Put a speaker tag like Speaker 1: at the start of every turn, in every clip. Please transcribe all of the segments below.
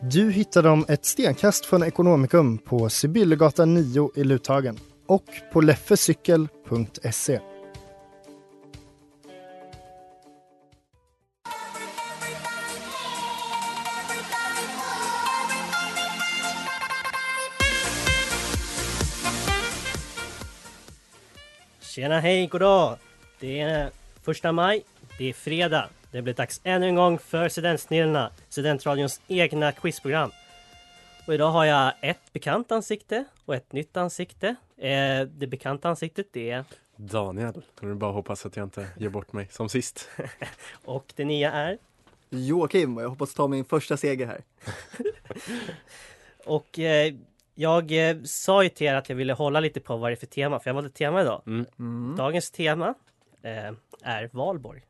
Speaker 1: Du hittar dem ett stenkast från Ekonomikum på Sibyllegatan 9 i Luthagen och på leffecykel.se.
Speaker 2: Tjena, hej, goddag! Det är första maj, det är fredag. Det blir dags ännu en gång för Studentsnillena, Studentradions egna quizprogram. Och idag har jag ett bekant ansikte och ett nytt ansikte. Eh, det bekanta ansiktet det är,
Speaker 3: Daniel, kan du bara hoppas att jag inte ger bort mig som sist?
Speaker 2: och det nya är.
Speaker 4: Joakim och jag hoppas ta min första seger här.
Speaker 2: Och eh, jag eh, sa ju till er att jag ville hålla lite på vad det är för tema, för jag valde tema idag.
Speaker 3: Mm.
Speaker 2: Dagens tema eh, är Valborg.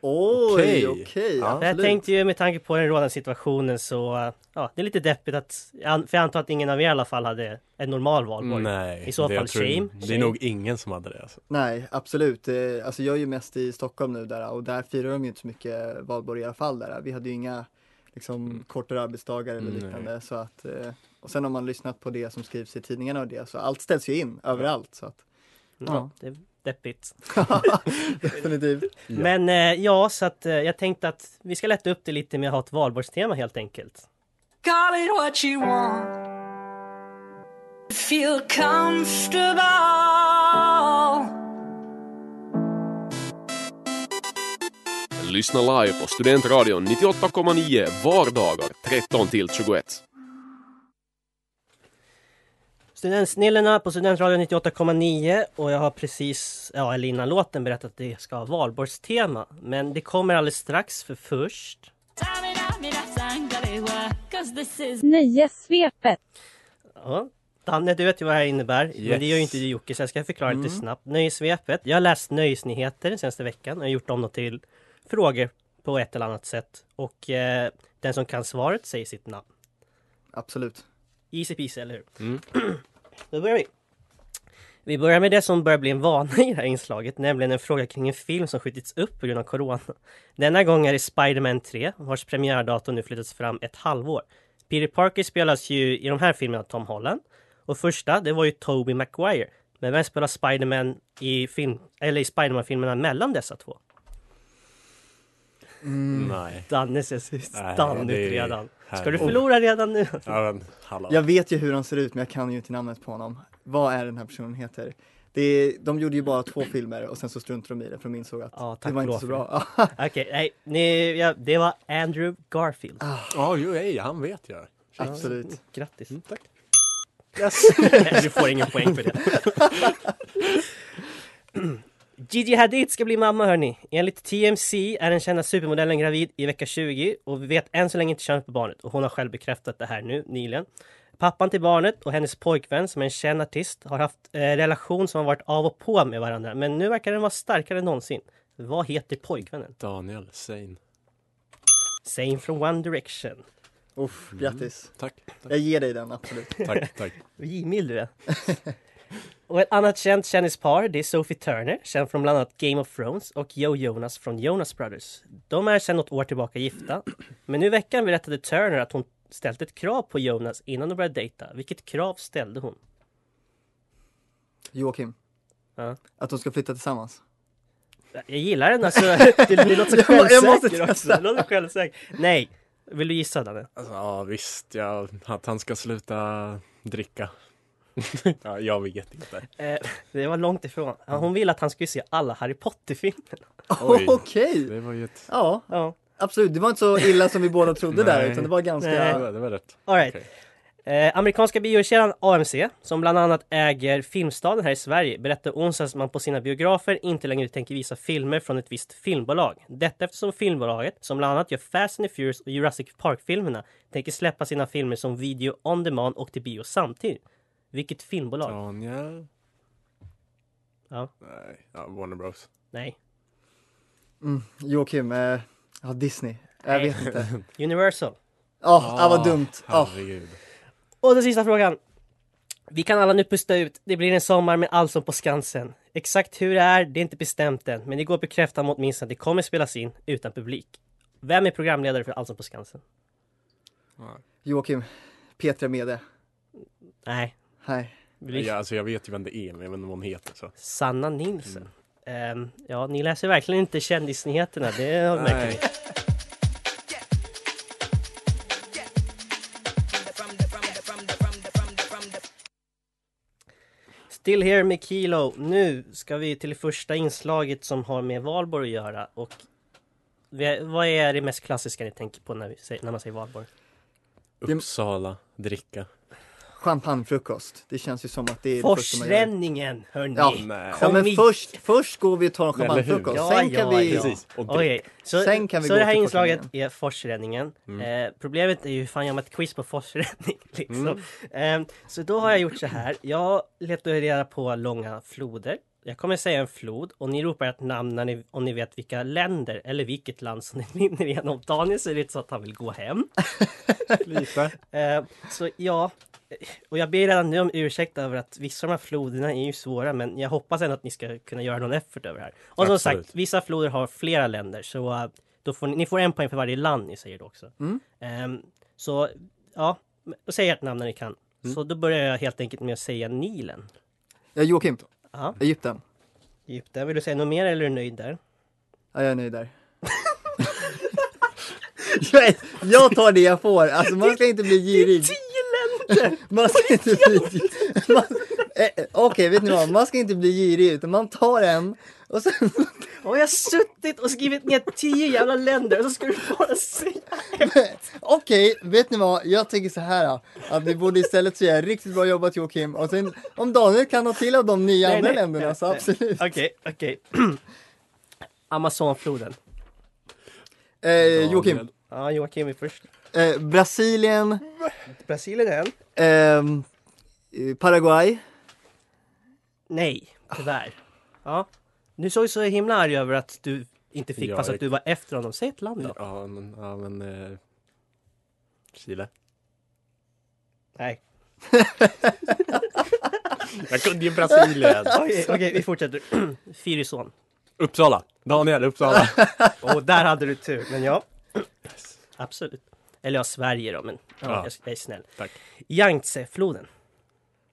Speaker 4: Oj,
Speaker 3: Okej.
Speaker 4: okej.
Speaker 3: Ja.
Speaker 2: Jag tänkte ju med tanke på den rådande situationen så, ja, det är lite deppigt att, jag an- för jag antar att ingen av er i alla fall hade en normal valborg.
Speaker 3: Nej,
Speaker 2: I så
Speaker 3: det- jag
Speaker 2: fall
Speaker 3: tror-
Speaker 2: shame,
Speaker 3: Det
Speaker 2: shame.
Speaker 3: är nog ingen som hade det alltså.
Speaker 4: Nej, absolut. Eh, Alltså jag är ju mest i Stockholm nu där och där firar de ju inte så mycket valborg i alla fall. Där. Vi hade ju inga liksom, kortare arbetsdagar eller
Speaker 3: Mm. Nej.
Speaker 4: liknande. Så att, eh, och sen om man lyssnat på det som skrivs i tidningarna och det, så allt ställs ju in överallt. Så att,
Speaker 2: Ja, det är deppigt.
Speaker 4: definitivt.
Speaker 2: Men eh, ja, så att eh, jag tänkte att vi ska lätta upp det lite med att ha ett valborgstema helt enkelt.
Speaker 5: Call it what you want. Feel comfortable.
Speaker 6: Lyssna live på Studentradion 98,9 vardagar 13 till 21.
Speaker 2: Studentsnillena på Studentradion 98,9 och jag har precis, ja eller innan låten berättat att det ska ha valborgstema. Men det kommer alldeles strax för först
Speaker 7: Nöjessvepet.
Speaker 2: Ja. Danne, du vet ju vad det här innebär, men
Speaker 3: Yes.
Speaker 2: det gör ju inte du Jocke, så jag ska förklara lite snabbt. Nöjessvepet. Jag har läst nöjesnyheter den senaste veckan och jag har gjort om dem till frågor på ett eller annat sätt. Och eh, den som kan svaret säger sitt namn.
Speaker 4: Absolut.
Speaker 2: Easy peasy, eller hur?
Speaker 3: Mm.
Speaker 2: Då börjar vi. Vi börjar med det som börjar bli en vana i det här inslaget, nämligen en fråga kring en film som skjutits upp på grund av corona. Denna gång är det Spider-Man 3, vars premiärdatum nu flyttats fram ett halvår. Peter Parker spelas ju i de här filmerna av Tom Holland. Och första, det var ju Tobey Maguire. Men vem spelar Spider-Man i, film, eller i Spider-Man-filmerna mellan dessa två?
Speaker 3: Mm. Nej.
Speaker 2: Danne ser så
Speaker 3: Nej,
Speaker 2: stand
Speaker 3: det
Speaker 2: ut
Speaker 3: är-
Speaker 2: Mm. redan. Ska
Speaker 3: här-
Speaker 2: du förlora redan nu?
Speaker 3: Ja, men hallå.
Speaker 4: Jag vet ju hur han ser ut men jag kan ju inte namnet på honom. Vad är den här personen heter? Det är, de gjorde ju bara två filmer och sen så struntade de i det för de insåg att
Speaker 2: Ja, tack
Speaker 4: det var
Speaker 2: och
Speaker 4: inte
Speaker 2: lov
Speaker 4: så
Speaker 2: för
Speaker 4: bra.
Speaker 2: Okej, nej, ni, ja, det var Andrew Garfield.
Speaker 3: Ja, jo, ej, han vet jag.
Speaker 4: Absolut.
Speaker 2: Grattis!
Speaker 3: tack.
Speaker 2: Mm, du får ingen poäng för det. Gigi Hadid ska bli mamma hörni. Enligt TMC är den kända supermodellen gravid i vecka 20 och vi vet än så länge inte könet på barnet och hon har själv bekräftat det här nu nyligen. Pappan till barnet och hennes pojkvän som är en känd artist har haft eh, relation som har varit av och på med varandra men nu verkar den vara starkare än någonsin. Vad heter pojkvännen?
Speaker 3: Daniel Sein.
Speaker 2: Same from One Direction.
Speaker 4: Uff, grattis.
Speaker 3: Tack, Mm. tack,
Speaker 4: Jag ger dig den, absolut.
Speaker 3: tack. tack.
Speaker 2: Vad givmild du är. och ett annat känt kändispar, det är Sophie Turner, känd från bland annat Game of Thrones och Joe Jonas från Jonas Brothers. De är sedan något år tillbaka gifta, men nu i veckan berättade Turner att hon ställt ett krav på Jonas innan de började dejta. Vilket krav ställde hon?
Speaker 4: Joakim.
Speaker 2: Ja.
Speaker 4: Att de ska flytta tillsammans.
Speaker 2: Jag gillar den alltså, det, det låter så
Speaker 4: Jag må- jag måste
Speaker 2: självsäker också. Det låter självsäker. Nej, Vill du gissa Danne?
Speaker 3: Alltså, ja visst, ja, att han ska sluta dricka. ja, jag vet inte.
Speaker 2: Eh, det var långt ifrån. Ja, Hon ville att han skulle se alla Harry Potter-filmer.
Speaker 3: Oj.
Speaker 4: Okej!
Speaker 3: Det var ju ett...
Speaker 4: Ja,
Speaker 2: Ja.
Speaker 4: absolut. Det var inte så illa som vi båda trodde där
Speaker 3: Nej.
Speaker 4: utan det var ganska...
Speaker 2: Eh. Nej.
Speaker 3: Det var, det var rätt.
Speaker 2: All right.
Speaker 3: Okej.
Speaker 2: Eh, amerikanska biokedjan AMC, som bland annat äger Filmstaden här i Sverige, berättade onsdags att man på sina biografer inte längre tänker visa filmer från ett visst filmbolag. Detta eftersom filmbolaget, som bland annat gör Fast and the Furious och Jurassic Park-filmerna, tänker släppa sina filmer som video on demand och till bio samtidigt. Vilket filmbolag?
Speaker 3: Tanja?
Speaker 2: Ja.
Speaker 3: Nej, ja, Warner Bros.
Speaker 2: Nej.
Speaker 4: Mm, Joakim, eh, ja Disney. Jag
Speaker 2: Nej.
Speaker 4: vet inte.
Speaker 2: Universal.
Speaker 4: Ja, ah, vad dumt. Ja.
Speaker 3: Herregud.
Speaker 2: Och den sista frågan. Vi kan alla nu pusta ut. Det blir en sommar med Allsång på Skansen. Exakt hur det är, det är inte bestämt än. Men det går att bekräfta mot minst att det kommer spelas in utan publik. Vem är programledare för Allsång på Skansen?
Speaker 4: Joakim, Petra Mede.
Speaker 2: Nej,
Speaker 4: Nej.
Speaker 2: vi...
Speaker 3: Ja, alltså, jag vet ju vem det är, men jag vet inte vad hon heter. Så.
Speaker 2: Sanna Nilsson.
Speaker 3: Mm.
Speaker 2: Ehm, ja, ni läser verkligen inte kändisnyheterna. Det har vi märkt.
Speaker 3: Nej.
Speaker 2: Still here med Kilo. Nu ska vi till det första inslaget som har med valborg att göra. Och vi- vad är det mest klassiska ni tänker på när, vi säger, när man säger valborg?
Speaker 3: Uppsala, dricka.
Speaker 4: Champagnefrukost. Det känns ju som att det är det första man gör.
Speaker 2: Forsränningen, hörni!
Speaker 4: Ja.
Speaker 3: Nej.
Speaker 4: Ja
Speaker 2: Kom
Speaker 4: men
Speaker 2: hit.
Speaker 4: först, först går vi och tar en
Speaker 3: Eller hur?
Speaker 4: champagnefrukost.
Speaker 2: Ja,
Speaker 4: Sen
Speaker 2: ja,
Speaker 4: kan vi...
Speaker 2: ja.
Speaker 3: Precis. Och dricka.
Speaker 2: Okej, så,
Speaker 4: Sen kan vi
Speaker 2: så
Speaker 4: gå
Speaker 2: det här
Speaker 4: till
Speaker 2: inslaget
Speaker 4: forsränningen.
Speaker 2: är forsränningen. Eh, problemet är ju hur fan jag har ett quiz på forsränning. Liksom. Eh, så då har jag gjort så här. Jag letar reda på långa floder. Jag kommer säga en flod och ni ropar ett namn när ni, om ni vet vilka länder eller vilket land som ni vinner igenom. Daniel ser ut så att han vill gå hem.
Speaker 3: Lite.
Speaker 2: Eh, så ja, och jag ber redan nu om ursäkt över att vissa av de här floderna är ju svåra men jag hoppas ändå att ni ska kunna göra någon effort över det här. Och som
Speaker 3: Absolut.
Speaker 2: sagt, vissa floder har flera länder så eh, då får ni, ni får en poäng för varje land ni säger då också. Ehm, så ja, då säger jag ert namn när ni kan. Så då börjar jag helt enkelt med att säga Nilen.
Speaker 4: Ja, Joakim,
Speaker 2: Ja,
Speaker 4: Egypten.
Speaker 2: Egypten. Vill du säga något mer eller är du nöjd där?
Speaker 4: Ja, jag är nöjd där. jag, är- jag tar det jag får. Alltså man ska inte bli girig.
Speaker 2: typ
Speaker 4: Man ska inte bli... man- eh, eh, Okej, vet ni vad? Man ska inte bli girig utan man tar en och sen...
Speaker 2: Har jag suttit och skrivit ner tio jävla länder och så ska du bara säga
Speaker 4: Okej, vet ni vad? Jag tänker så här då, att vi borde istället säga riktigt bra jobbat Joakim och sen om Daniel kan ha till av de nio
Speaker 2: Nej,
Speaker 4: andra
Speaker 2: nej,
Speaker 4: länderna
Speaker 2: nej,
Speaker 4: så
Speaker 2: nej.
Speaker 4: absolut.
Speaker 2: Okej, okej. Amazonfloden.
Speaker 4: Eh, Joakim,
Speaker 2: Ja, Joakim är först.
Speaker 4: eh, Brasilien,
Speaker 2: Brasilien är en.
Speaker 4: ehm, eh, Paraguay.
Speaker 2: Nej, tyvärr. Ja. Nu såg jag så himla arg över att du inte fick
Speaker 3: Ja,
Speaker 2: fast att
Speaker 3: jag-
Speaker 2: du var efter honom. Säg ett land då.
Speaker 3: Ja, men... Ja, men eh, Chile.
Speaker 2: Nej.
Speaker 3: Jag kunde ju Brasilien.
Speaker 2: Okej, okej, vi fortsätter. Fyrisån.
Speaker 3: Uppsala. Daniel, Uppsala.
Speaker 2: Och där hade du tur, men ja. Absolut. Eller ja, Sverige då, men ja,
Speaker 3: Ja.
Speaker 2: Jag, jag är snäll.
Speaker 3: Tack.
Speaker 2: Yangtzefloden.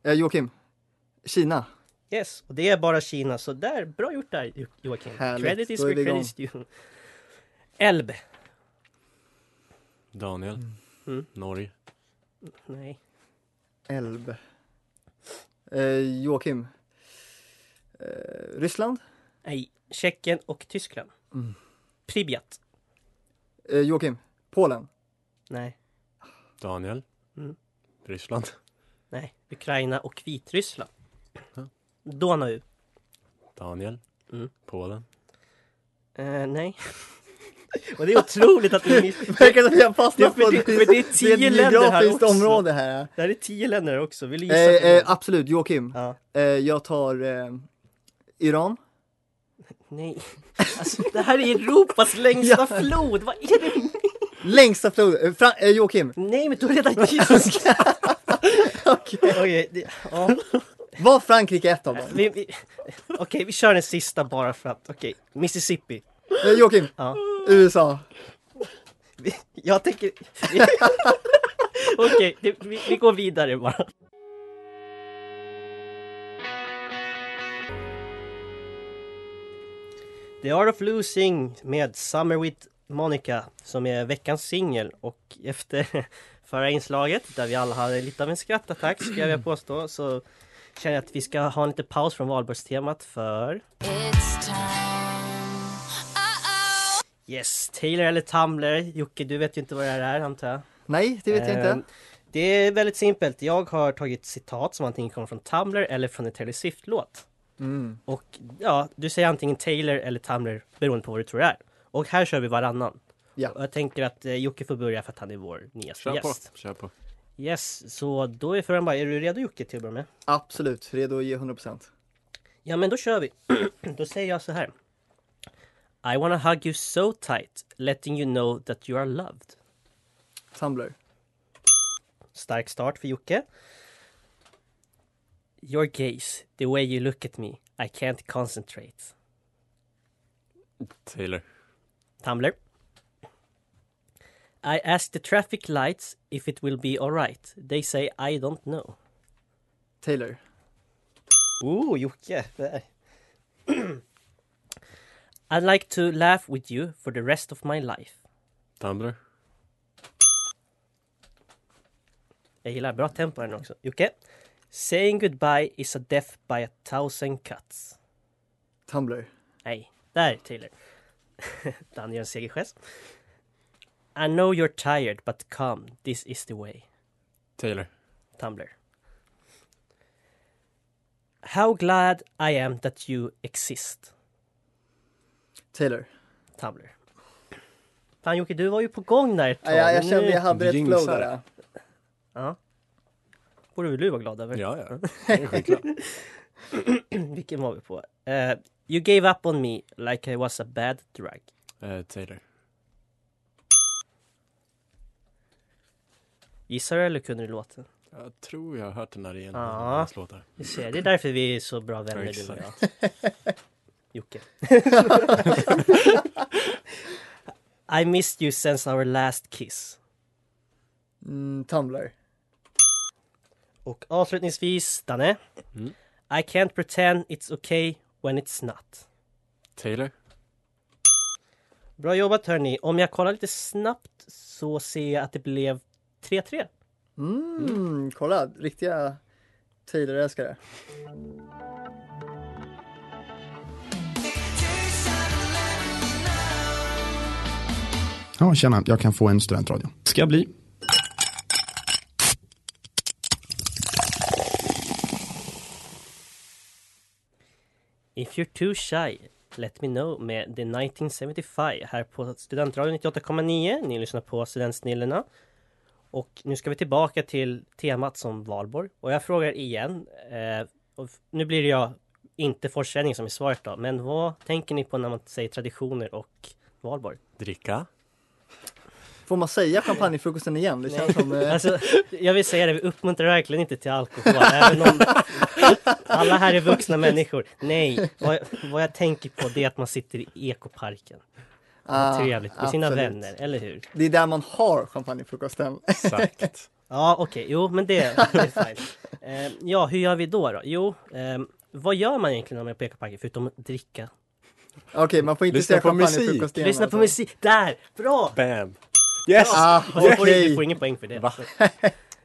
Speaker 4: Eh, Joakim, Kina.
Speaker 2: Yes, och det är bara Kina, så där, bra gjort där Jo- Joakim.
Speaker 4: Härligt,
Speaker 2: Credit is
Speaker 4: då är
Speaker 2: where
Speaker 4: vi
Speaker 2: credit is due. Elbe.
Speaker 3: Daniel.
Speaker 2: Mm.
Speaker 3: Norge.
Speaker 2: Nej.
Speaker 4: Elb. Eh, Joakim. Eh, Ryssland.
Speaker 2: Nej. Tjeckien och Tyskland.
Speaker 4: Mm.
Speaker 2: Pripyat.
Speaker 4: Eh, Joakim. Polen.
Speaker 2: Nej.
Speaker 3: Daniel.
Speaker 2: Mm.
Speaker 3: Ryssland.
Speaker 2: Nej, Ukraina och Vitryssland.
Speaker 3: Ja.
Speaker 2: Donau.
Speaker 3: Daniel.
Speaker 2: Mm.
Speaker 3: Polen.
Speaker 2: Eh, nej. och det är otroligt att ni
Speaker 4: Verkar som att vi har
Speaker 2: Det är
Speaker 4: fastnat
Speaker 2: för
Speaker 4: på
Speaker 2: det- för det är tio
Speaker 4: det är ett
Speaker 2: länder här
Speaker 4: geografiskt
Speaker 2: också.
Speaker 4: område här.
Speaker 2: Det här är tio länder också, vill du gissa?
Speaker 4: Eh,
Speaker 2: på det?
Speaker 4: eh, absolut, Joakim.
Speaker 2: ja.
Speaker 4: Eh, jag tar eh, Iran.
Speaker 2: Nej. Alltså, det här är Europas längsta
Speaker 4: Ja.
Speaker 2: flod! Vad är det?
Speaker 4: Längsta floden. Eh, Fra- eh, Joakim.
Speaker 2: Nej, men du har redan gissat! Okej, det- ja.
Speaker 4: Var Frankrike ett av dem?
Speaker 2: Vi- vi- Okej, vi kör den sista bara för att. Okej, Mississippi.
Speaker 4: Eh, Joakim.
Speaker 2: Ja.
Speaker 4: USA.
Speaker 2: Vi- Jag tänker... Okej, det- vi, vi går vidare bara. The Art of Losing med Summer with Monica som är veckans singel och efter förra inslaget där vi alla hade lite av en skrattattack skulle jag vilja påstå så känner jag att vi ska ha en liten paus från valborgstemat för
Speaker 5: It's time. Uh-oh.
Speaker 2: Yes, Taylor eller Tumblr. Jocke, du vet ju inte vad det här är antar jag?
Speaker 4: Nej, det vet jag
Speaker 2: Eh,
Speaker 4: inte.
Speaker 2: Det är väldigt simpelt. Jag har tagit citat som antingen kommer från Tumblr eller från en Taylor Swift-låt.
Speaker 4: Mm.
Speaker 2: Och ja, du säger antingen Taylor eller Tumblr beroende på vad du tror det är. Och här kör vi varannan.
Speaker 4: Ja.
Speaker 2: Och jag tänker att eh, Jocke får börja för att han är vår nyaste
Speaker 3: Kör
Speaker 2: gäst.
Speaker 3: på, kör på.
Speaker 2: Yes, så då är frågan bara, är du redo Jocke till att börja med?
Speaker 4: Absolut, redo att ge 100%.
Speaker 2: Ja men då kör vi. då säger jag så här. I wanna hug you so tight, letting you know that you are loved.
Speaker 4: Tumblr.
Speaker 2: Stark start för Jocke. Your gaze, the way you look at me, I can't concentrate.
Speaker 3: Taylor.
Speaker 2: Tumblr. I ask the traffic lights if it will be alright. They say I don't know.
Speaker 4: Taylor.
Speaker 2: Ooh, Jocke! där. I'd like to laugh with you for the rest of my life.
Speaker 3: Tumblr.
Speaker 2: Jag gillar bra tempo här nu också. Jocke. Saying goodbye is a death by a thousand cuts.
Speaker 4: Tumblr.
Speaker 2: Nej, där Taylor. Dan gör en segergest. I know you're tired but come, this is the way.
Speaker 3: Taylor.
Speaker 2: Tumblr. How glad I am that you exist.
Speaker 4: Taylor.
Speaker 2: Tumblr. Fan Jocke, du var ju på gång där ett
Speaker 4: Ja, jag, jag
Speaker 2: men
Speaker 4: kände
Speaker 2: nu
Speaker 4: jag hade ett flow
Speaker 3: jinxar.
Speaker 4: där.
Speaker 2: borde väl du vara glad över.
Speaker 3: Ja, ja. Det är skitbra.
Speaker 2: Vilken var vi på? Eh, you gave up on me like I was a bad drug.
Speaker 3: Eh, Taylor.
Speaker 2: Gissar du eller kunde du låten?
Speaker 3: Jag tror jag har hört den här igen.
Speaker 2: Ja.
Speaker 3: i hans låtar.
Speaker 2: Du ser, det är därför vi är så bra vänner du och jag.
Speaker 3: Exakt.
Speaker 2: Jocke. I missed you since our last kiss.
Speaker 4: Mm, Tumblr.
Speaker 2: Och avslutningsvis, Danne.
Speaker 3: Mm.
Speaker 2: I can't pretend it's okay when it's not.
Speaker 3: Taylor.
Speaker 2: Bra jobbat hörni. Om jag kollar lite snabbt så ser jag att det blev 3-3.
Speaker 4: Mm, kolla, riktiga Taylor-älskare.
Speaker 7: Ja, tjena, jag kan få en studentradio. Ska jag bli.
Speaker 2: If you're too shy, let me know med The 1975 här på Studentradion 98,9. Ni lyssnar på Studentsnillena. Och nu ska vi tillbaka till temat som valborg. Och jag frågar igen. Eh, och f- nu blir det jag inte fortkänning som är svaret då. Men vad tänker ni på när man säger traditioner och valborg?
Speaker 3: Dricka.
Speaker 4: Får man säga champagnefrukosten igen? Det känns som... Eh,
Speaker 2: Alltså, jag vill säga det, vi uppmuntrar verkligen inte till alkohol. även om alla här är vuxna människor. Nej, vad, vad jag tänker på det är att man sitter i ekoparken.
Speaker 4: ah,
Speaker 2: Trevligt med sina
Speaker 4: absolut.
Speaker 2: vänner, eller hur?
Speaker 4: Det är där man har champagnefrukosten.
Speaker 3: Exakt.
Speaker 2: Ja, okej, jo, men det, det är fine. Eh, ja, hur gör vi då? då? Jo, ehm, vad gör man egentligen när man är på ekoparken förutom att dricka?
Speaker 4: Okej, man får inte
Speaker 3: Lyssna
Speaker 4: säga
Speaker 3: på musik.
Speaker 4: champagnefrukost igen.
Speaker 2: Lyssna på
Speaker 4: alltså.
Speaker 2: musik! Där! Bra!
Speaker 3: Bam. Yes!
Speaker 4: Ah,
Speaker 2: Och du, får,
Speaker 4: okej.
Speaker 2: du får ingen poäng för det.
Speaker 3: Va?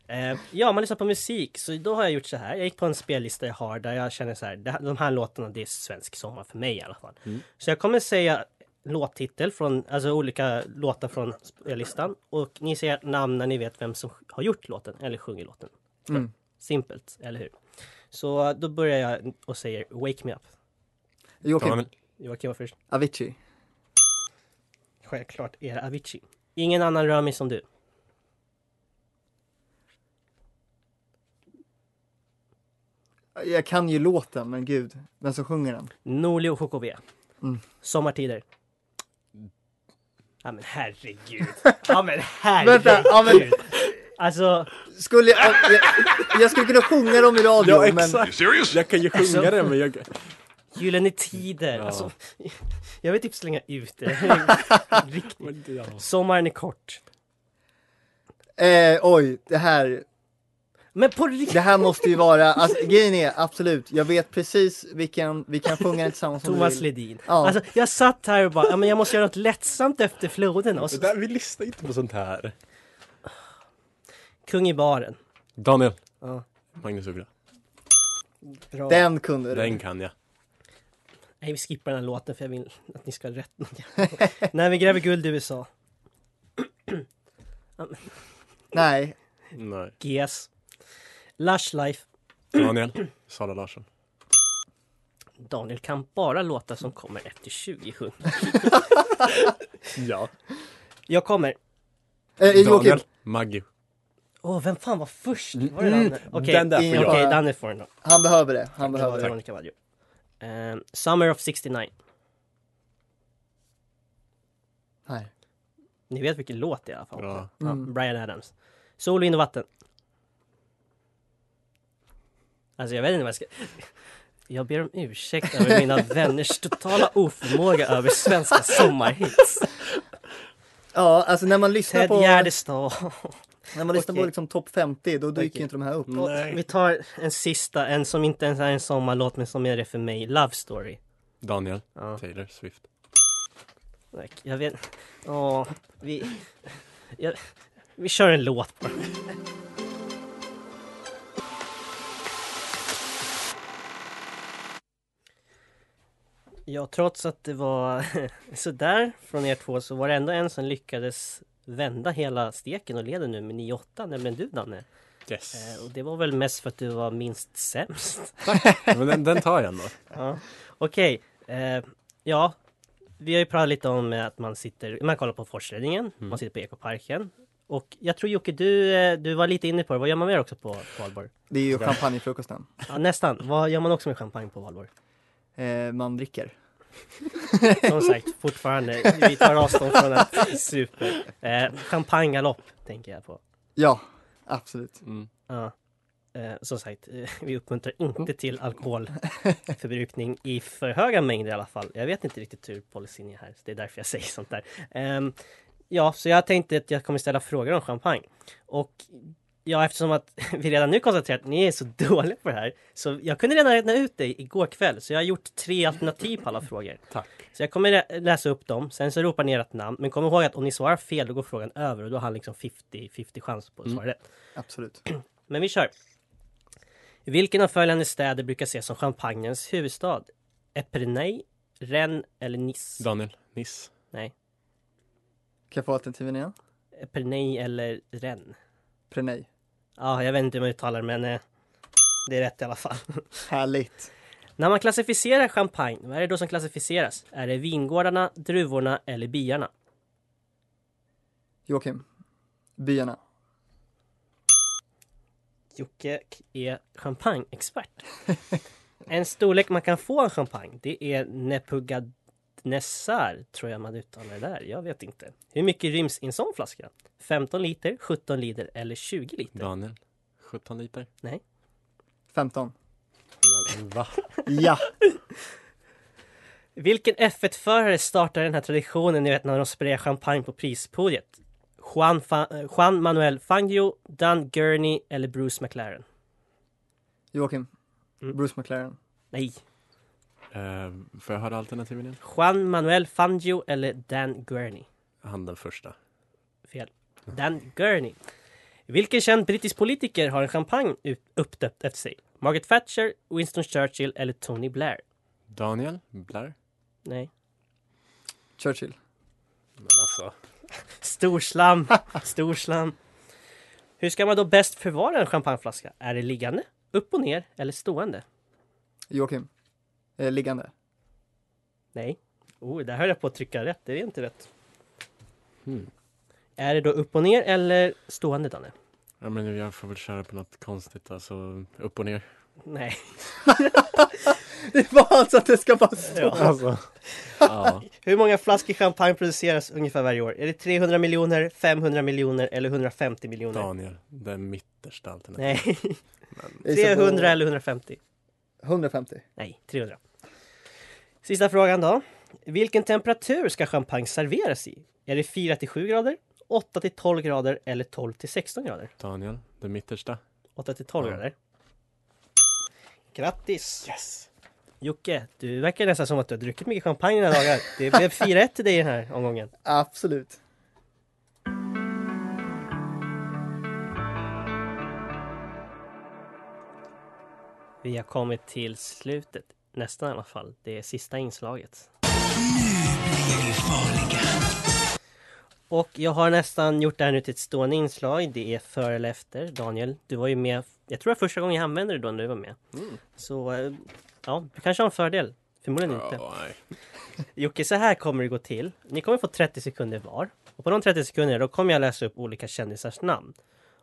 Speaker 2: Eh, ja, man lyssnar på musik. Så då har jag gjort så här. Jag gick på en spellista jag har där jag känner så här. det här- De här låtarna, det är svensk sommar för mig i alla fall.
Speaker 4: Mm.
Speaker 2: Så jag kommer säga låttitel från, alltså olika låtar från spellistan. Och ni säger namn när ni vet vem som har gjort låten eller sjunger låten.
Speaker 4: Mm.
Speaker 2: Simpelt, eller hur? Så då börjar jag och säger Wake Me Up.
Speaker 4: Joakim,
Speaker 3: Daniel.
Speaker 2: Joakim var först.
Speaker 4: Avicii.
Speaker 2: Självklart är det Avicii. Ingen annan rör mig som du.
Speaker 4: Jag kan ju låten, men gud. Vem som sjunger den?
Speaker 2: Norli och HKV.
Speaker 4: Mm.
Speaker 2: Sommartider. Ja men herregud. Ja men herregud.
Speaker 4: Vänta, ja, men
Speaker 2: Alltså,
Speaker 4: skulle jag, jag, jag skulle kunna sjunga dem i radio,
Speaker 3: Ja,
Speaker 4: men
Speaker 3: exakt. Jag kan ju sjunga den, men jag...
Speaker 2: Gyllene Tider.
Speaker 3: Ja.
Speaker 2: Alltså, jag vill typ slänga ut det. Riktigt. Sommaren är kort.
Speaker 4: eh, oj, det här.
Speaker 2: Men på riktigt?
Speaker 4: Det här måste ju vara, alltså, grejen är absolut, jag vet precis vilken, vi kan sjunga den tillsammans om du
Speaker 2: Thomas
Speaker 4: vill.
Speaker 2: Ledin.
Speaker 4: Ja.
Speaker 2: Alltså, jag satt här och bara, ja, men jag måste göra något lättsamt efter floden. Och så,
Speaker 3: Det där, vi lyssnar inte på sånt här.
Speaker 2: Kung i baren.
Speaker 3: Daniel.
Speaker 2: Ja.
Speaker 3: Magnus Uggla.
Speaker 2: Bra.
Speaker 4: Den kunde du.
Speaker 3: Den kan jag.
Speaker 2: Nej, vi skippar den här låten för jag vill att ni ska ha rätt. någon jävla gång. När vi gräver guld i USA.
Speaker 4: Nej.
Speaker 3: Nej.
Speaker 2: GS. Lush Life.
Speaker 3: Daniel. Sara Larsson.
Speaker 2: Daniel kan bara låta som kommer efter 2000.
Speaker 3: Ja.
Speaker 2: Jag kommer.
Speaker 4: Eh, Joakim,
Speaker 3: Daniel. Maggie.
Speaker 2: Åh, vem fan var först? Var det Danne? Okej,
Speaker 3: Mm,
Speaker 2: mm,
Speaker 3: den där får
Speaker 2: okej,
Speaker 4: jag.
Speaker 2: Danne får den då.
Speaker 4: Mm. han behöver det. Han
Speaker 2: Det var
Speaker 4: behöver det.
Speaker 2: Veronica Maggio. Ehm, Summer of 69.
Speaker 4: Nej.
Speaker 2: Ni vet vilken låt det är i alla fall.
Speaker 3: Ja.
Speaker 2: Ja,
Speaker 4: Mm.
Speaker 2: Brian Adams. Sol, vind och vatten. Alltså jag vet inte vad jag ska... Jag ber om ursäkt över mina vänners totala oförmåga över svenska sommarhits.
Speaker 4: Ja, alltså när man lyssnar
Speaker 2: Ted
Speaker 4: på,
Speaker 2: Gärdestad.
Speaker 4: när man lyssnar på
Speaker 2: Okej.
Speaker 4: liksom topp 50, då dyker
Speaker 2: Okej. Mm.
Speaker 4: inte de här upp.
Speaker 2: Vi tar en sista, en som inte ens är en sommarlåt men som är det för mig. Love Story.
Speaker 3: Daniel.
Speaker 2: Ja.
Speaker 3: Taylor Swift.
Speaker 2: Tack. Jag vet... Ja, vi... Jag, vi kör en låt bara. Ja, trots att det var sådär från er två så var det ändå en som lyckades vända hela steken och leder nu med 9-8, nämligen du Danne.
Speaker 3: Yes.
Speaker 2: Eh, och det var väl mest för att du var minst sämst.
Speaker 3: Men den, den tar jag ändå.
Speaker 2: Ja. Okej, eh, ja. Vi har ju pratat lite om eh, att man sitter, man kollar på Forsledningen, man sitter på Ekoparken. Och jag tror Jocke, du, eh, du var lite inne på det, vad gör man mer också på valborg?
Speaker 4: Det är ju champagnefrukosten.
Speaker 2: Ja, nästan, vad gör man också med champagne på valborg?
Speaker 4: Eh, man dricker.
Speaker 2: Som sagt, fortfarande, vi tar avstånd från att super. Eh, champagnegalopp tänker jag på.
Speaker 4: Ja, absolut.
Speaker 2: Ja. Eh, som sagt, eh, vi uppmuntrar inte till alkoholförbrukning i för höga mängder i alla fall. Jag vet inte riktigt hur policyn är här, så det är därför jag säger sånt där. Ehm, ja, så jag tänkte att jag kommer ställa frågor om champagne. Och ja, eftersom att vi redan nu konstaterat att ni är så dåliga på det här, så jag kunde redan räkna ut det igår kväll, så jag har gjort tre alternativ på alla frågor.
Speaker 3: Tack.
Speaker 2: Så jag kommer lä- läsa upp dem, sen så ropar ni ert namn, men kom ihåg att om ni svarar fel, då går frågan över och då har han liksom 50-50 chans på att svara rätt.
Speaker 4: Absolut.
Speaker 2: Men vi kör. Vilken av följande städer brukar ses som champagnens huvudstad? Epernay, Rennes eller Nice?
Speaker 3: Daniel. Niss.
Speaker 2: Nej,
Speaker 4: Kan jag få alternativen igen?
Speaker 2: Epernay eller Rennes.
Speaker 4: Prenej.
Speaker 2: Ja, jag vet inte hur man uttalar det, men eh, det är rätt i alla fall.
Speaker 4: Härligt.
Speaker 2: När man klassificerar champagne, vad är det då som klassificeras? Är det vingårdarna, druvorna eller byarna?
Speaker 4: Joakim, byarna.
Speaker 2: Jocke är champagneexpert. En storlek man kan få en champagne, det är Nepugad-Nessar, tror jag man uttalar det där. Jag vet inte. Hur mycket ryms i en sån flaska? 15 liter, 17 liter eller 20 liter?
Speaker 3: Daniel. 17 liter.
Speaker 4: 15.
Speaker 3: Va?
Speaker 4: Ja,
Speaker 2: Vilken F1-förare startar den här traditionen, ni vet när de sprayar champagne på prispodiet? Juan, Fa- eh, Juan Manuel Fangio, Dan Gurney eller Bruce McLaren?
Speaker 4: Joakim.
Speaker 2: Mm.
Speaker 4: Bruce McLaren.
Speaker 2: Nej,
Speaker 3: Eh, får jag höra alternativen igen?
Speaker 2: Juan Manuel Fangio eller Dan Gurney?
Speaker 3: Han den första.
Speaker 2: Fel. Dan Gurney. Vilken känd brittisk politiker har en champagne ut- uppdöpt efter sig? Margaret Thatcher, Winston Churchill eller Tony Blair?
Speaker 3: Daniel. Blair.
Speaker 2: Nej.
Speaker 4: Churchill.
Speaker 3: Men alltså.
Speaker 2: Storslam! Storslam! Hur ska man då bäst förvara en champagneflaska? Är det liggande, upp och ner eller stående?
Speaker 4: Joakim. Eh, liggande.
Speaker 2: Nej. Oh, där höll jag på att trycka rätt. Det är inte rätt.
Speaker 3: Hmm.
Speaker 2: Är det då upp och ner eller stående, Danne?
Speaker 3: Ja, men jag får väl köra på något konstigt. Alltså upp och ner.
Speaker 2: Nej.
Speaker 4: Det var alltså att det ska vara stå.
Speaker 3: Ja.
Speaker 2: Hur många flaskor champagne produceras ungefär varje år? Är det 300 miljoner, 500 miljoner eller 150 miljoner?
Speaker 3: Daniel. Den mittersta alternativet.
Speaker 2: Nej,
Speaker 4: Jag gissar på
Speaker 2: 300 eller 150?
Speaker 4: 150.
Speaker 2: Nej, 300. Sista frågan då. Vilken temperatur ska champagne serveras i? Är det 4 till 7 grader, 8 till 12 grader eller 12 till 16 grader?
Speaker 3: Daniel. Den mittersta.
Speaker 2: 8 till 12 eller? Grattis! Yes! Jocke, du verkar nästan som att du har druckit mycket champagne den här dagar. Det blev 4-1 till dig i den här omgången.
Speaker 4: Absolut.
Speaker 2: Vi har kommit till slutet, nästan i alla fall. Det är sista inslaget. Och jag har nästan gjort det här nu till ett stående inslag. Det är före eller efter. Daniel, du var ju med. Jag tror det var första gången jag använde det då när du var med. Så eh, ja, du kanske har en fördel. Förmodligen inte. Jocke, så här kommer det gå till. Ni kommer få 30 sekunder var. Och på de 30 sekunderna då kommer jag läsa upp olika kändisars namn.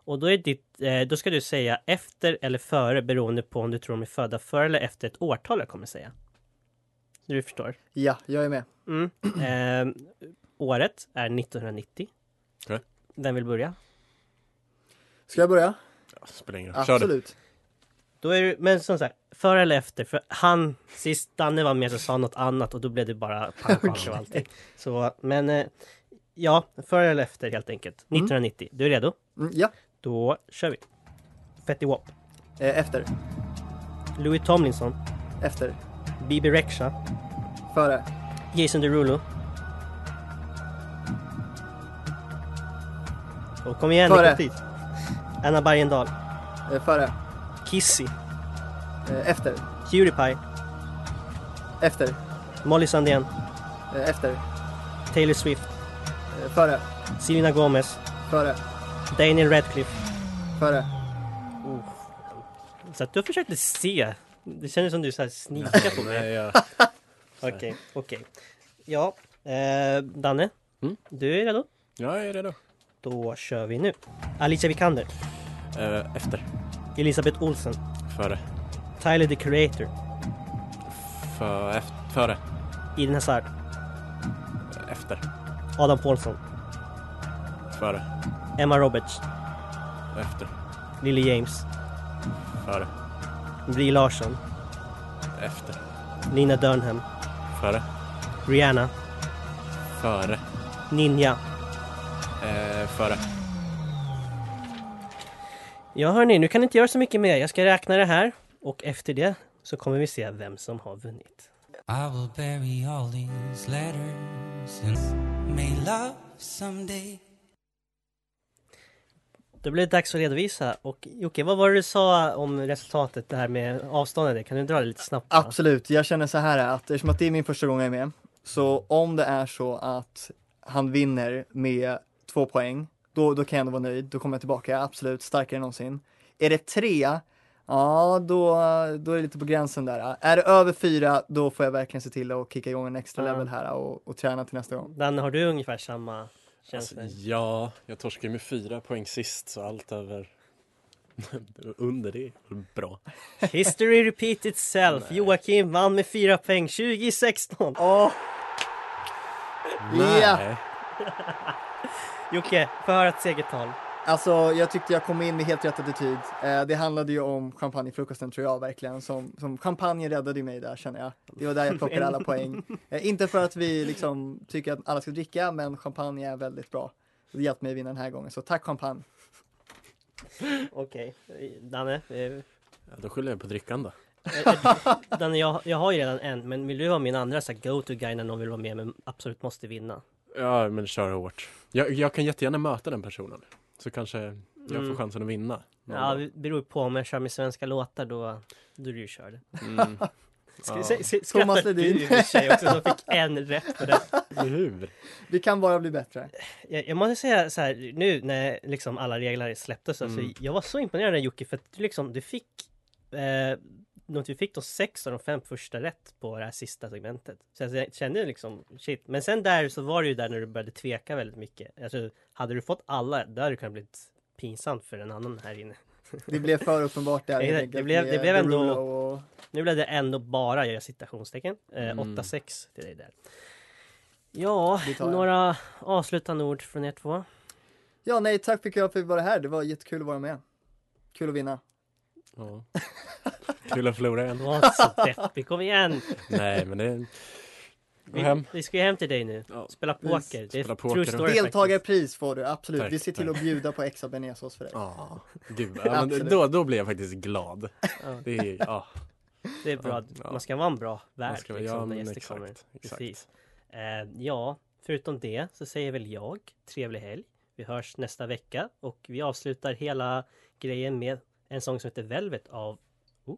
Speaker 2: Och då, är ditt, eh, då ska du säga efter eller före beroende på om du tror de är födda före eller efter ett årtal jag kommer säga. Du förstår?
Speaker 4: Ja, jag är med.
Speaker 2: Mm. Eh, året är 1990.
Speaker 3: Okej.
Speaker 2: Vem vill börja?
Speaker 4: Ska jag börja?
Speaker 3: Spelar ingen roll. Kör du.
Speaker 4: Absolut.
Speaker 2: Då är du, men som sagt, före eller efter? För han, sist Danne var med så sa han något annat och då blev det bara pang, pang och allting. Så, men eh, ja, före eller efter helt enkelt. 1990. Du är redo?
Speaker 4: Mm, ja,
Speaker 2: Då kör vi. Fetty Wap,
Speaker 4: eh, efter.
Speaker 2: Louis Tomlinson,
Speaker 4: Efter.
Speaker 2: Bibi Rexha,
Speaker 4: Före.
Speaker 2: Jason Derulo. Och kom igen,
Speaker 4: Före.
Speaker 2: det kom tid. Anna Bergendahl,
Speaker 4: Eh, före.
Speaker 2: Kissy,
Speaker 4: Eh, efter.
Speaker 2: Pewdiepie,
Speaker 4: Efter.
Speaker 2: Molly Sandén,
Speaker 4: Eh, efter.
Speaker 2: Taylor Swift,
Speaker 4: Eh, före.
Speaker 2: Selena Gomez,
Speaker 4: Före.
Speaker 2: Daniel Radcliffe.
Speaker 4: Före.
Speaker 2: Så att du försökte se. Det kändes som du så här snikade på mig.
Speaker 3: Nej, jag...
Speaker 2: Okej, okej. Ja, eh, Danne.
Speaker 3: Mm.
Speaker 2: Du är redo?
Speaker 3: jag är redo.
Speaker 2: Då kör vi nu. Alicia Vikander,
Speaker 3: Eh, efter.
Speaker 2: Elisabeth Olsen,
Speaker 3: Före.
Speaker 2: Tyler the Creator,
Speaker 3: För, efter. Före.
Speaker 2: Eden Hazard,
Speaker 3: Efter.
Speaker 2: Adam Paulsson,
Speaker 3: Före.
Speaker 2: Emma Roberts,
Speaker 3: Efter.
Speaker 2: Lily James,
Speaker 3: Före.
Speaker 2: Brie Larsson,
Speaker 3: Efter.
Speaker 2: Lina Dunham,
Speaker 3: Före.
Speaker 2: Rihanna,
Speaker 3: Före.
Speaker 2: Ninja.
Speaker 3: Eh, före.
Speaker 2: Ja hörni, nu kan ni inte göra så mycket mer. Jag ska räkna det här och efter det så kommer vi se vem som har vunnit.
Speaker 8: I will bury all these letters and may love someday.
Speaker 2: Då blir det dags att redovisa och Jocke, vad var det du sa om resultatet, det här med avståndet? Kan du dra det lite snabbt? va?
Speaker 4: Absolut, jag känner så här att eftersom att det är min första gång jag är med, så om det är så att han vinner med två poäng, då, då kan jag ändå vara nöjd. Då kommer jag tillbaka, absolut, starkare än någonsin. Är det tre, ja då, då är det lite på gränsen där. Är det över fyra, då får jag verkligen se till att kicka igång en extra
Speaker 2: Ja.
Speaker 4: level här och, och träna till nästa gång.
Speaker 2: Danne, har du ungefär samma känsla?
Speaker 3: Alltså, ja, jag torskade med fyra poäng sist så allt över under det är bra.
Speaker 2: History repeat itself. Joakim vann med fyra poäng 2016.
Speaker 4: Åh! Ja!
Speaker 3: Nej.
Speaker 2: Jocke, få höra ett segertal.
Speaker 4: Alltså, jag tyckte jag kom in med helt rätt attityd. Eh, det handlade ju om champagnefrukosten tror jag verkligen. Som, som champagne räddade ju mig där känner jag. Det var där jag plockade alla poäng. Eh, inte för att vi liksom tycker att alla ska dricka, men champagne är väldigt bra. Det hjälpte mig vinna den här gången, så tack champagne.
Speaker 2: Okej, Danne. eh,
Speaker 3: Ja, då skyller jag på drickan då.
Speaker 2: Danne jag, jag har ju redan en, men vill du vara min andra så här go-to-guy när någon vill vara med men absolut måste vinna?
Speaker 3: Ja, men kör hårt. Jag, jag kan jättegärna möta den personen. Så kanske jag
Speaker 2: Mm.
Speaker 3: får chansen att vinna. någon
Speaker 2: Ja,
Speaker 3: dag.
Speaker 2: det beror på. Om jag kör med svenska låtar då, då är du ju körd.
Speaker 3: Mm.
Speaker 2: Ska,
Speaker 3: Ja.
Speaker 2: ja. Skrattar du
Speaker 4: Ledin.
Speaker 2: i och för sig också som fick en rätt på det?
Speaker 3: Eller hur?
Speaker 4: Vi kan bara bli bättre.
Speaker 2: Jag, jag måste säga så här, nu när liksom alla regler släpptes,
Speaker 3: Mm.
Speaker 2: alltså, jag var så imponerad av Jocke för att du liksom, du fick eh, något, du fick då sex av de fem första rätt på det här sista segmentet. Så jag jag kände liksom, shit. Men sen där så var det ju där när du började tveka väldigt mycket. Alltså, hade du fått alla, då hade det kunnat blivit pinsamt för en annan här inne.
Speaker 4: Det blev för uppenbart där.
Speaker 2: Det- det
Speaker 4: enkelt,
Speaker 2: blev-
Speaker 4: med
Speaker 2: det blev ändå-
Speaker 4: Derulo Och...
Speaker 2: Nu blev det ändå bara, jag gör citationstecken, eh,
Speaker 3: Mm.
Speaker 2: 8-6 till dig där. Ja,
Speaker 4: Det tar jag.
Speaker 2: några avslutande ord från er två.
Speaker 4: Ja, nej, tack för att jag fick vara här. Det var jättekul att vara med. Kul att vinna.
Speaker 3: Ja. Kul att förlora igen.
Speaker 2: Var inte så deppig, kom igen!
Speaker 3: Nej, men det... Gå hem.
Speaker 2: Vi ska ju hem till dig nu. Spela poker.
Speaker 4: Vis-
Speaker 2: Det är
Speaker 3: Spela
Speaker 2: true
Speaker 3: poker.
Speaker 2: story faktiskt.
Speaker 4: Deltagarpris får du, absolut.
Speaker 3: Tack,
Speaker 4: vi ser till
Speaker 3: tack.
Speaker 4: att bjuda på extra bearnaisesås för dig.
Speaker 3: Ja, gud. Ja, men
Speaker 4: Absolut.
Speaker 3: då, då blir jag faktiskt glad.
Speaker 2: Ja.
Speaker 3: Det är, ja.
Speaker 2: Det är bra.
Speaker 3: Ja.
Speaker 2: Man ska vara en bra
Speaker 3: Man
Speaker 2: värd
Speaker 3: ska vara-
Speaker 2: liksom,
Speaker 3: ja,
Speaker 2: när
Speaker 3: men
Speaker 2: gäster
Speaker 3: exakt,
Speaker 2: kommer.
Speaker 3: exakt.
Speaker 2: Precis. Eh, ja, förutom det så säger väl jag trevlig helg. Vi hörs nästa vecka och vi avslutar hela grejen med en sång som heter Velvet av oh,